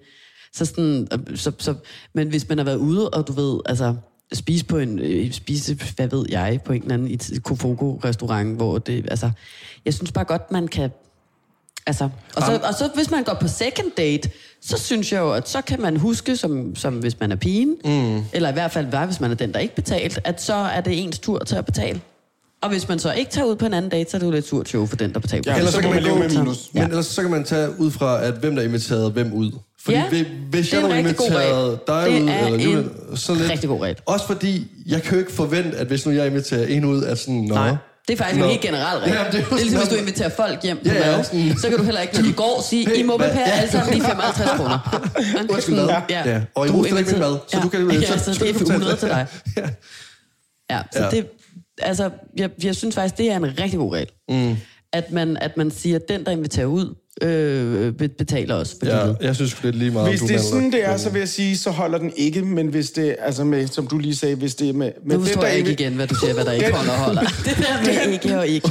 Speaker 1: Så sådan, øh, så, så, men hvis man har været ude, og du ved, altså spise på en, øh, spise, hvad ved jeg, på en eller anden et- et Kofoko-restaurant, hvor det, altså, jeg synes bare godt, man kan, altså, og så, og så hvis man går på second date, så synes jeg jo, at så kan man huske, som, som hvis man er pigen, mm. eller i hvert fald var, hvis man er den, der ikke betalt, at så er det ens tur til at betale. Og hvis man så ikke tager ud på en anden date, så er det jo lidt surt show for den, der betaler.
Speaker 3: Ja,
Speaker 2: Ellers
Speaker 3: så kan man leve
Speaker 2: gå-
Speaker 3: med minus.
Speaker 2: Men ellers så kan man tage ud fra, at hvem der inviterede hvem ud. Fordi
Speaker 1: Ja,
Speaker 2: hvis- hvis
Speaker 1: det er
Speaker 2: jeg
Speaker 1: en
Speaker 2: nu
Speaker 1: rigtig god
Speaker 2: inviterede
Speaker 1: regel.
Speaker 2: dig
Speaker 1: Det
Speaker 2: ud,
Speaker 1: er
Speaker 2: eller
Speaker 1: en
Speaker 2: Julian, sådan lidt.
Speaker 1: rigtig god regel.
Speaker 2: Også fordi, jeg kan jo ikke forvente, at hvis nu jeg inviterer en ud, at sådan, nå.
Speaker 1: Nej. Det er faktisk
Speaker 2: Nå.
Speaker 1: en helt generel regel.
Speaker 2: Ja,
Speaker 1: Ja,
Speaker 2: men
Speaker 1: det, er
Speaker 2: jo
Speaker 1: det er ligesom, hvis
Speaker 2: sådan-
Speaker 1: du inviterer folk hjem på
Speaker 2: Ja, ja,
Speaker 1: mad,
Speaker 2: sådan-
Speaker 1: så kan du heller ikke, når de går, sige, I må
Speaker 2: hvad-
Speaker 1: betale
Speaker 2: ja.
Speaker 1: alle sammen lige 55 kroner.
Speaker 2: Undskyld mad. Ja. Og I roste ikke min mad, så du kan jo-
Speaker 1: jo...
Speaker 2: så-
Speaker 1: Ja, så
Speaker 2: så
Speaker 1: det
Speaker 2: du
Speaker 1: er
Speaker 2: kan betale
Speaker 1: 100
Speaker 2: det.
Speaker 1: til dig. Ja, så
Speaker 2: Ja.
Speaker 1: ja. det... Altså, jeg, jeg synes faktisk, det er en rigtig god regel. Mm. At, man, at man siger, at den, der inviterer ud, øh, be- betaler også for ja.
Speaker 2: Ja,
Speaker 1: livet.
Speaker 2: jeg synes sgu, det er lige meget,
Speaker 3: Hvis
Speaker 2: om
Speaker 3: det er
Speaker 2: mand eller
Speaker 3: sådan, det er,
Speaker 2: kvinde.
Speaker 3: så vil jeg sige, så holder den ikke. Men hvis det, altså med, som du lige sagde, hvis det er med... med
Speaker 1: Nu
Speaker 3: den,
Speaker 1: forstår
Speaker 3: der
Speaker 1: jeg ikke
Speaker 3: invi-
Speaker 1: igen, hvad du siger, hvad der ikke
Speaker 3: Den-
Speaker 1: holder og holder. Det der med ikke og ikke.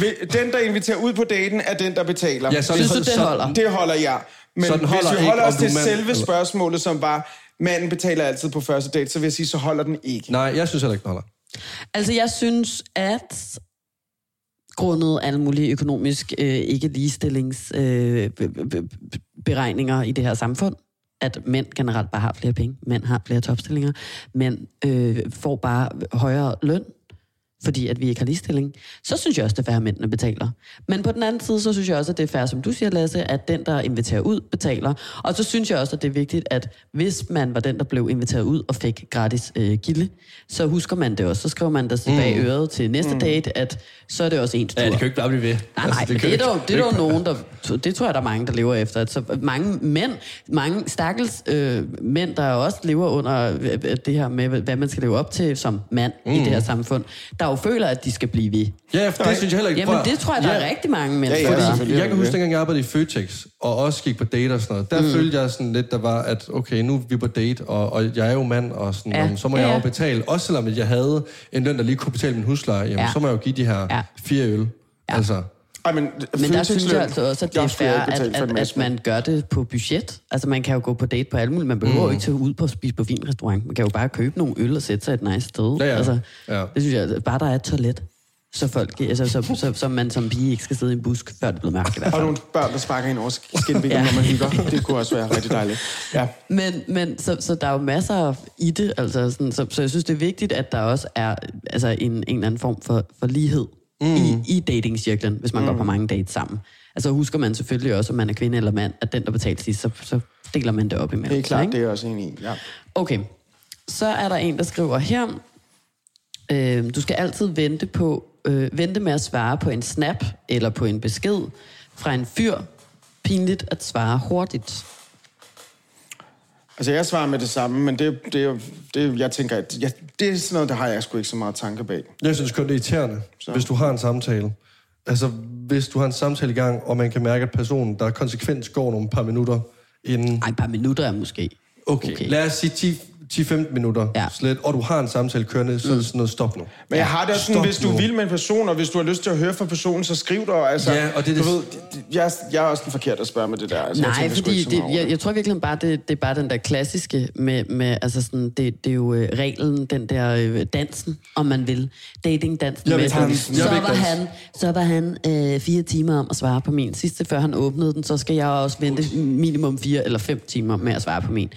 Speaker 3: ved- Den, der inviterer ud på daten, er den, der betaler.
Speaker 2: Ja, så
Speaker 1: Synes du, det
Speaker 2: så-
Speaker 1: holder?
Speaker 3: Det holder jeg. Men
Speaker 2: Så den
Speaker 3: holder
Speaker 2: holder
Speaker 3: hvis vi
Speaker 2: ikke,
Speaker 3: holder
Speaker 2: om
Speaker 3: os
Speaker 2: du
Speaker 3: til
Speaker 2: er mand
Speaker 3: selve
Speaker 2: eller-
Speaker 3: spørgsmålet, som var, manden betaler altid på første date, så vil jeg sige, så holder den ikke.
Speaker 2: Nej, jeg synes heller ikke, den holder.
Speaker 1: Altså, jeg synes, at grundet alle mulige økonomisk øh, ikke ligestillingsberegninger øh, beregninger i det her samfund, at mænd generelt bare har flere penge, mænd har flere topstillinger, mænd øh, får bare højere løn, fordi at vi ikke har ligestilling, så synes jeg også, det er færre, at mændene betaler. Men på den anden side, så synes jeg også, at det er færre, som du siger, Lasse, at den, der inviterer ud, betaler. Og så synes jeg også, at det er vigtigt, at hvis man var den, der blev inviteret ud og fik gratis øh, gilde, så husker man det også. Så skriver man der bag øret til næste date, at så er det også ens tur.
Speaker 2: jo ikke bare blive ved.
Speaker 1: Nej, nej, men
Speaker 2: Altså, kan
Speaker 1: det er
Speaker 2: jo
Speaker 1: dog,
Speaker 2: ikke-
Speaker 1: det er dog
Speaker 2: ikke-
Speaker 1: nogen, der... Det tror jeg, der er mange, der lever efter. Så mange mænd, mange stakkels øh, mænd, der også lever under øh, øh, det her med, hvad man skal leve op til som mand mm. i det her samfund, der jo føler, at de skal blive ved.
Speaker 2: Ja, for det synes jeg heller ikke.
Speaker 1: Jamen,
Speaker 2: Prøv at-
Speaker 1: det tror jeg, der
Speaker 2: Ja.
Speaker 1: er rigtig mange mænd,
Speaker 3: Ja, ja,
Speaker 1: der gør.
Speaker 3: selvfølgelig.
Speaker 2: Fordi jeg kan
Speaker 3: Ja.
Speaker 2: huske, dengang jeg arbejdede i Føtex, og også gik på date og sådan noget. Der mm. følte jeg sådan lidt, der var, at okay, nu er vi på date, og, og jeg er jo mand, og sådan,
Speaker 1: Ja.
Speaker 2: ja. så må
Speaker 1: Ja,
Speaker 2: jeg
Speaker 1: ja.
Speaker 2: jo betale. Også selvom at jeg havde en løn, der lige kunne betale min husleje, jamen, ja.
Speaker 1: Ja.
Speaker 2: så må jeg jo give de her ja.
Speaker 1: Ja.
Speaker 2: fire øl. Ja. Altså,
Speaker 3: Ej, men,
Speaker 1: Men der synes
Speaker 3: fødselsdagsløn,
Speaker 1: jeg altså også, at det
Speaker 3: der
Speaker 1: er
Speaker 3: skulle jeg
Speaker 1: fair,
Speaker 3: ikke
Speaker 1: at,
Speaker 3: betale for en
Speaker 1: at,
Speaker 3: masse
Speaker 1: at man gør det på budget. Altså, man kan jo gå på date på alle mulige. Man behøver mm. ikke tage ud på at spise på fin restaurant. Man kan jo bare købe nogle øl og sætte sig et nice sted.
Speaker 2: Ja, ja.
Speaker 1: Altså,
Speaker 2: Ja.
Speaker 1: Det synes jeg, altså, bare der er et toilet. Så, folk, altså, så, så, så man som pige ikke skal sidde i en busk, før det bliver mørkt i hvert
Speaker 3: Og
Speaker 1: fald.
Speaker 3: nogle børn, der sparker ind over skinbenet,
Speaker 1: Ja.
Speaker 3: når man hygger. Det kunne også være rigtig dejligt. Ja.
Speaker 1: Men, men så, så der er jo masser i det, altså, sådan, så, så jeg synes, det er vigtigt, at der også er altså, en, en eller anden form for, for lighed mm. i, i datingcirklen, hvis man mm. går på mange dates sammen. Altså husker man selvfølgelig også, om man er kvinde eller mand, at den, der betaler sidst, så, så deler man det op imellem.
Speaker 3: Det er klart,
Speaker 1: ikke?
Speaker 3: det er jeg også enig i. Ja.
Speaker 1: Okay, så er der en, der skriver her, øh, du skal altid vente, på, øh, vente med at svare på en snap eller på en besked fra en fyr. Pinligt at svare hurtigt.
Speaker 3: Altså, jeg svarer med det samme, men det, det, er jo- det er- jeg tænker, at jeg, det er sådan noget, der har jeg sgu ikke så meget tanke bag.
Speaker 2: jeg synes kun, det er irriterende, så. hvis du har en samtale. Altså, hvis du har en samtale i gang, og man kan mærke, at personen, der konsekvent går nogle par minutter inden...
Speaker 1: Ej, et par minutter er måske.
Speaker 2: Okay, okay. lad os sige 10, 10-15 minutter
Speaker 1: Ja. Mm.
Speaker 2: ja. slet, og du har en samtale kørende, så er det sådan noget, stop nu.
Speaker 3: Men jeg har det også sådan,
Speaker 2: Stop
Speaker 3: hvis du
Speaker 2: nu.
Speaker 3: vil med en person, og hvis du har lyst til at høre fra personen, så skriv dig. Altså,
Speaker 2: Ja, og det er
Speaker 3: du
Speaker 2: det-
Speaker 3: ved, det- det- jeg, er- jeg er også den forkerte at spørge med det der. Altså, jeg
Speaker 1: Nej,
Speaker 3: tænker sgu
Speaker 1: fordi
Speaker 3: ikke så
Speaker 1: det,
Speaker 3: meget over
Speaker 1: jeg, jeg tror virkelig bare, det, det er bare den der klassiske med, med altså sådan, det, det er jo øh, reglen, den der øh, dansen, om man vil. Dating-dansen.
Speaker 2: Jeg
Speaker 1: med
Speaker 2: vil ikke
Speaker 1: den.
Speaker 2: danse. Jeg
Speaker 1: så,
Speaker 2: vil
Speaker 1: var
Speaker 2: ikke danse.
Speaker 1: han, så var han øh, fire timer om at svare på min. Sidste, før han åbnede den, så skal jeg også vente minimum fire eller fem timer med at svare på min.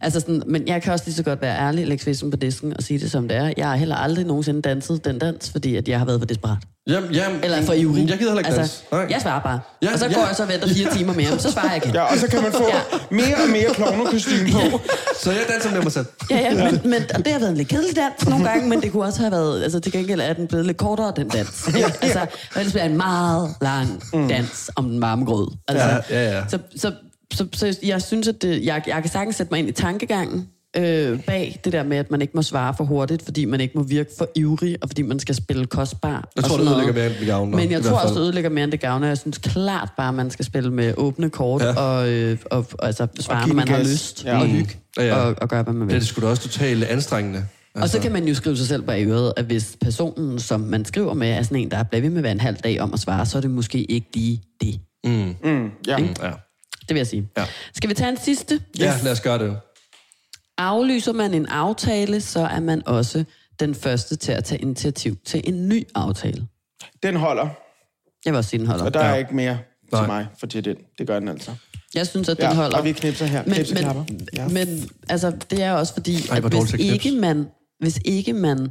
Speaker 1: Altså sådan, men jeg kan også lige så godt være ærlig, lægge svisen på disken og sige det, som det er. Jeg har heller aldrig nogensinde danset den dans, fordi at jeg har været for desperat.
Speaker 2: Jamen, jamen,
Speaker 1: Eller for ivrig.
Speaker 2: Jeg gider heller ikke altså, dans.
Speaker 1: Jeg svarer bare.
Speaker 2: Ja,
Speaker 1: Ja, og så
Speaker 2: ja.
Speaker 1: går jeg så og venter fire timer mere, så svarer jeg igen.
Speaker 3: det. Ja, og så kan man få
Speaker 1: Ja.
Speaker 3: mere og mere klovnekostyme på.
Speaker 2: Så jeg danser med mig selv.
Speaker 1: Ja, ja, men, men og det har været en lidt kedelig dans nogle gange, men det kunne også have været, altså til gengæld er den blevet lidt kortere, den dans. Ja, altså, og ellers bliver det en meget lang dans om den varme grød. Altså,
Speaker 2: Mm. Ja, ja, ja.
Speaker 1: Så, så, så, så, jeg synes, at det, jeg, jeg kan sagtens sætte mig ind i tankegangen øh, bag det der med, at man ikke må svare for hurtigt, fordi man ikke må virke for ivrig, og fordi man skal spille kostbar.
Speaker 2: Jeg tror,
Speaker 1: og sådan
Speaker 2: det
Speaker 1: noget.
Speaker 2: ødelægger mere, end det gavner,
Speaker 1: Men
Speaker 2: i
Speaker 1: jeg
Speaker 2: hvert
Speaker 1: tror også,
Speaker 2: fald.
Speaker 1: det ødelægger mere, end det gavner. Jeg synes klart bare, at man skal spille med åbne kort,
Speaker 2: Ja.
Speaker 1: ja. og, øh, og, og, altså, svare,
Speaker 3: give
Speaker 1: når
Speaker 3: den
Speaker 1: man har
Speaker 3: gas.
Speaker 1: lyst,
Speaker 3: Ja.
Speaker 1: ja. og hygge,
Speaker 2: Ja,
Speaker 1: ja,
Speaker 2: ja.
Speaker 1: ja. Og, og gøre, hvad man vil.
Speaker 2: Det er det sgu da også totalt anstrengende.
Speaker 1: Og så kan man jo skrive sig selv på øret, at hvis personen, som man skriver med, er sådan en, der bliver ved med at være en halv dag om at svare, så er det måske ikke lige det.
Speaker 3: Ja.
Speaker 2: Ja.
Speaker 1: Det vil jeg sige.
Speaker 2: Ja.
Speaker 1: Skal vi tage en sidste?
Speaker 2: ja, lad os gøre det.
Speaker 1: Aflyser man en aftale, så er man også den første til at tage initiativ til en ny aftale.
Speaker 3: Den holder,
Speaker 1: Jeg vil også sige, den holder.
Speaker 3: og der er ikke mere
Speaker 2: Nej.
Speaker 3: til mig for til den. Det gør den altså.
Speaker 1: Jeg synes, at den
Speaker 3: Ja,
Speaker 1: holder.
Speaker 3: og vi knipser her. Knipseklapper.
Speaker 1: Men,
Speaker 3: Ja.
Speaker 1: men altså, det er også fordi,
Speaker 2: Ej,
Speaker 1: Ej,
Speaker 2: hvor
Speaker 1: at
Speaker 2: dårligt
Speaker 1: hvis
Speaker 2: til at
Speaker 1: ikke,
Speaker 2: knipse.
Speaker 1: man, hvis ikke man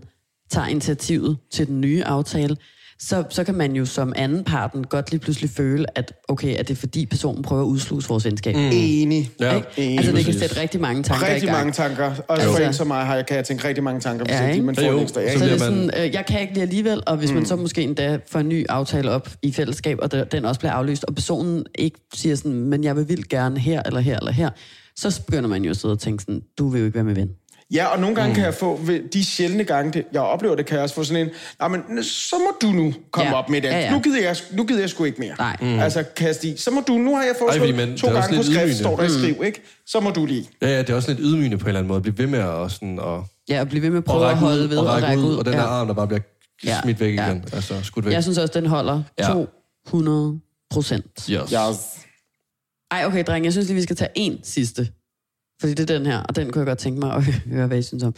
Speaker 1: tager initiativet til den nye aftale, så, så kan man jo som anden parten godt lige pludselig føle, at okay, at det er fordi personen prøver at udsluse vores venskab. Mm.
Speaker 3: Enig.
Speaker 2: Ja.
Speaker 3: Enig.
Speaker 1: altså, det kan
Speaker 2: præcis.
Speaker 1: sætte rigtig mange tanker i
Speaker 3: Rigtig
Speaker 1: gang.
Speaker 3: mange tanker. Også for en som mig har jeg, kan jeg tænke rigtig mange tanker, hvis
Speaker 1: Altså- Ja,
Speaker 3: ikke
Speaker 1: ikke?
Speaker 3: man får
Speaker 2: Jo,
Speaker 3: en ekstra. Ja,
Speaker 2: så
Speaker 1: Så
Speaker 3: ikke?
Speaker 1: det er
Speaker 2: bliver man-
Speaker 1: sådan, øh, jeg kan ikke lige alligevel, og hvis mm. man så måske endda får en ny aftale op i fællesskab, og der- den også bliver aflyst, og personen ikke siger sådan, men jeg vil vildt gerne her, eller her, eller her, så begynder man jo at sidde og tænke sådan, du vil jo ikke være med ven.
Speaker 3: Ja, og nogle gange mm. kan jeg få, ved de sjældne gange, det, jeg oplever det, kan jeg også få sådan en, nej, men så må du nu komme ja.
Speaker 1: Ja.
Speaker 3: op med den. Ja,
Speaker 1: Ja,
Speaker 3: ja.
Speaker 1: ja.
Speaker 3: Nu, gider jeg, nu gider jeg sgu ikke mere.
Speaker 1: Nej.
Speaker 3: Mm. Altså, kast i. Så må du, nu har jeg foreslået
Speaker 2: fordi man-
Speaker 3: to
Speaker 2: det er også
Speaker 3: gange på
Speaker 2: lidt
Speaker 3: skrift,
Speaker 2: ydmygende.
Speaker 3: står der i
Speaker 1: Mm.
Speaker 3: skriv, ikke? Så må du lige.
Speaker 2: Ja, ja, det er også lidt ydmygende på en eller anden måde. Blive ved med at, sådan, at,
Speaker 1: Ja, og blive ved med at
Speaker 2: at
Speaker 1: prøve at holde ved
Speaker 2: og række, ud, og den der
Speaker 1: ja.
Speaker 2: arm, der bare bliver
Speaker 1: Ja.
Speaker 2: smidt væk
Speaker 1: Ja.
Speaker 2: igen. Altså, skudt væk.
Speaker 1: Jeg synes også, den holder
Speaker 2: Ja.
Speaker 1: ja. 200 procent.
Speaker 2: Yes.
Speaker 3: Ja.
Speaker 1: Ej, okay, dreng, jeg synes lige, vi skal tage en sidste. Fordi det er den her, og den kunne jeg godt tænke mig at høre, hvad I synes om.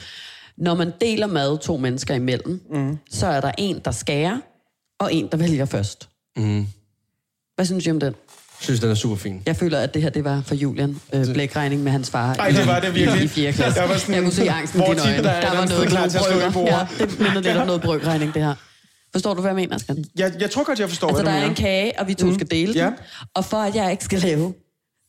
Speaker 1: Når man deler mad to mennesker imellem, mm. så er der en, der skærer, og en, der vælger først.
Speaker 2: Mm.
Speaker 1: Hvad synes I om den?
Speaker 2: Jeg synes, den er super fin.
Speaker 1: Jeg føler, at det her, det var for Julian. Øh, blækregning med hans far.
Speaker 3: Ej, det var det virkelig.
Speaker 1: I, i fjerde klasse.
Speaker 3: Jeg
Speaker 1: Jeg,
Speaker 3: var
Speaker 1: var
Speaker 3: sådan,
Speaker 1: jeg kunne se angsten i
Speaker 3: hvor
Speaker 1: dine
Speaker 3: tit
Speaker 1: øjne.
Speaker 3: der er et eller
Speaker 1: Der var noget,
Speaker 3: andet sted klar til at slå i
Speaker 1: noget brygger.
Speaker 3: bordet.
Speaker 1: Ja, det minder lidt om noget brygregning, det her. Forstår du, hvad jeg mener, Skat?
Speaker 3: Jeg, jeg tror godt, jeg forstår,
Speaker 1: Altså, der
Speaker 3: hvad du
Speaker 1: er
Speaker 3: mener.
Speaker 1: en kage, og vi to mm. skal dele den.
Speaker 3: Ja.
Speaker 1: Og for at jeg ikke skal lave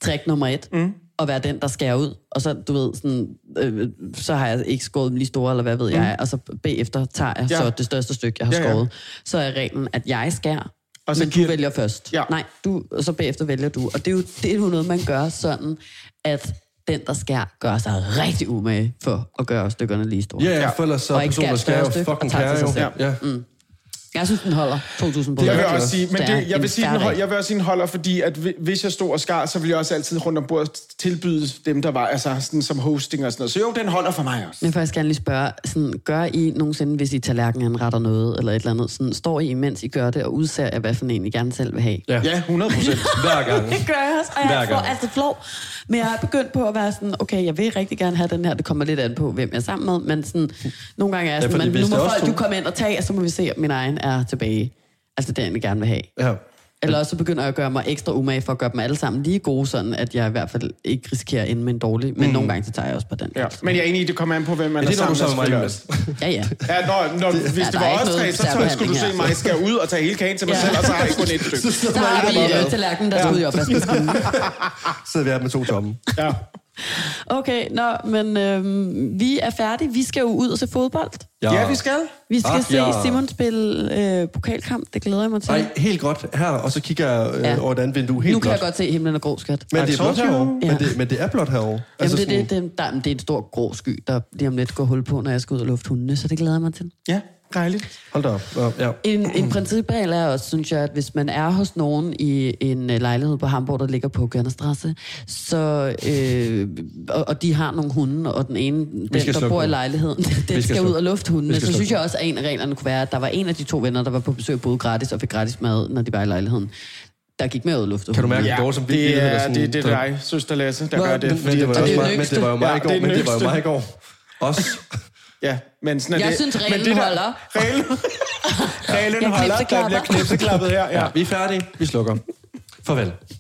Speaker 1: trick nummer et, mm. og være den, der skærer ud, og så, du ved, sådan, øh, så har jeg ikke skåret dem lige store, eller hvad ved mm. jeg, og så bagefter tager jeg
Speaker 3: Ja.
Speaker 1: ja. så det største stykke, jeg har
Speaker 3: Ja, ja.
Speaker 1: ja, skåret. Så er reglen, at jeg skærer,
Speaker 3: Og
Speaker 1: og
Speaker 3: så
Speaker 1: så men
Speaker 3: giver-
Speaker 1: du vælger først.
Speaker 3: Ja.
Speaker 1: Nej, du, og så bagefter vælger du. Og det er jo, det er jo noget, man gør sådan, at den, der skærer, gør sig rigtig umage for at gøre stykkerne lige store.
Speaker 2: Ja, ja,
Speaker 3: Ja.
Speaker 2: for ellers så
Speaker 1: Og
Speaker 2: er
Speaker 1: ikke
Speaker 2: personen, der
Speaker 1: skærer
Speaker 2: skal jo
Speaker 1: største,
Speaker 2: fucking
Speaker 1: og tager
Speaker 2: kære
Speaker 1: til
Speaker 2: jo.
Speaker 1: sig
Speaker 2: Ja.
Speaker 1: selv. Mm.
Speaker 2: ja.
Speaker 1: Jeg synes, den holder 2.000 på.
Speaker 3: Jeg vil
Speaker 2: Ja,
Speaker 3: også sige, men
Speaker 1: Der er
Speaker 3: det, jeg,
Speaker 1: en
Speaker 3: vil sige, den
Speaker 1: færdig.
Speaker 3: hold, jeg vil også sige, den holder, fordi at hvi- hvis jeg stod og skar, så ville jeg også altid rundt om bordet tilbyde dem, der var altså sådan, som hosting og sådan noget. Så jo, den holder for mig også.
Speaker 1: Men først gerne lige spørge, sådan, gør I nogensinde, hvis I tallerken anretter noget eller et eller andet, sådan, står I imens I gør det og udser jer, hvad for en I gerne selv vil have?
Speaker 2: Ja.
Speaker 3: Ja, 100 procent.
Speaker 2: Hver gang.
Speaker 1: Det gør jeg også, og
Speaker 2: Hver
Speaker 1: jeg får
Speaker 2: gang.
Speaker 1: altid flov. Men jeg er begyndt på at være sådan, okay, jeg vil rigtig gerne have den her. Det kommer lidt an på, hvem jeg er sammen med, men sådan, nogle gange er jeg
Speaker 2: Ja,
Speaker 1: sådan,
Speaker 2: fordi
Speaker 1: man,
Speaker 2: hvis
Speaker 1: nu må
Speaker 2: det er os
Speaker 1: folk,
Speaker 2: to-
Speaker 1: du komme ind og tage, og så må vi se, om min egen er tilbage. Altså den, jeg gerne vil have.
Speaker 2: Ja.
Speaker 1: Eller også så begynder jeg at gøre mig ekstra umage for at gøre dem alle sammen lige gode, sådan at jeg i hvert fald ikke risikerer at ende med en dårlig. Men mm. nogle gange, så tager jeg også på den.
Speaker 3: Ja. Men jeg er enig i, det kommer an på, hvem
Speaker 2: Men
Speaker 3: man er,
Speaker 2: det er, når du
Speaker 3: sammen
Speaker 2: sammen
Speaker 3: med.
Speaker 2: med mig,
Speaker 3: selvfølgelig
Speaker 2: Mads.
Speaker 3: også.
Speaker 1: Ja, ja.
Speaker 3: Ja, når, når, hvis
Speaker 1: Ja,
Speaker 3: det
Speaker 1: der
Speaker 3: var
Speaker 1: er ikke
Speaker 3: os tre,
Speaker 1: noget
Speaker 3: så tror jeg, skulle du se
Speaker 1: særbehandling
Speaker 3: mig skal ud og tage hele kagen til mig
Speaker 1: Ja.
Speaker 3: selv, og så har jeg kun et stykke.
Speaker 1: Så har vi øh, tallerkenen, der stod i opvaskemaskinen.
Speaker 2: Så sidder vi her med to tomme.
Speaker 3: Ja.
Speaker 1: Okay, nå, men øh, vi er færdige. Vi skal jo ud og se fodbold.
Speaker 3: ja, vi skal.
Speaker 1: Vi skal
Speaker 2: Ah,
Speaker 1: ah, se
Speaker 2: ja.
Speaker 1: ja. Simon spille øh, pokalkamp. Det glæder jeg mig til.
Speaker 2: Nej, helt godt her, og så kigger jeg øh,
Speaker 1: Ja.
Speaker 2: over et andet vindue. Helt
Speaker 1: nu kan
Speaker 2: blåt.
Speaker 1: jeg godt se himlen er grå, skat.
Speaker 2: Men det er
Speaker 3: I
Speaker 2: blot
Speaker 3: told you.
Speaker 2: herovre.
Speaker 1: Ja.
Speaker 2: Men, det, men det er blot herovre. Altså
Speaker 1: Jamen, det,
Speaker 2: sådan-
Speaker 1: det, det, der, det er en stor grå sky, der lige om lidt går hul på, når jeg skal ud og lufte hundene, så det glæder jeg mig til.
Speaker 3: Ja. Dejligt.
Speaker 2: Hold da op. Ja.
Speaker 1: En, en principregel er også, synes jeg, at hvis man er hos nogen i en øh, lejlighed på Hamburg, der ligger på Gørnestrasse, så, øh, og, og de har nogle hunde, og den ene, den,
Speaker 2: skal
Speaker 1: der
Speaker 2: slukke
Speaker 1: bor i
Speaker 2: dem.
Speaker 1: lejligheden, den skal,
Speaker 2: skal
Speaker 1: ud
Speaker 2: slukke-
Speaker 1: og lufte hundene.
Speaker 2: vi
Speaker 1: Så
Speaker 2: skal
Speaker 1: synes
Speaker 2: slukke
Speaker 1: jeg også, at en af reglerne kunne være, at der var en af de to venner, der var på besøg både gratis og fik gratis mad, når de var i lejligheden. Der gik med ud og lufte
Speaker 2: Kan du
Speaker 1: hundene.
Speaker 2: mærke det dårligt som billede?
Speaker 3: det
Speaker 2: eller
Speaker 3: er,
Speaker 2: sådan-
Speaker 3: det, det er
Speaker 2: der-
Speaker 3: dig, søster Lasse, der
Speaker 2: Nå,
Speaker 3: gør det.
Speaker 2: Men det var
Speaker 1: det er
Speaker 2: også
Speaker 1: den
Speaker 2: mig- men det var jo mig i
Speaker 3: yngste.
Speaker 2: går. Men det var jo
Speaker 3: Ja,
Speaker 2: mig
Speaker 3: det
Speaker 2: i går. Også.
Speaker 3: Ja, men sådan er
Speaker 1: Jeg
Speaker 3: det.
Speaker 1: synes,
Speaker 3: Men
Speaker 1: reglen
Speaker 3: det der-
Speaker 1: holder.
Speaker 3: Reglen, reglen
Speaker 1: Jeg
Speaker 3: holder. Der
Speaker 1: knipseklapper.
Speaker 3: bliver knipseklappet her. Ja.
Speaker 2: Vi er færdige. Vi slukker. Farvel.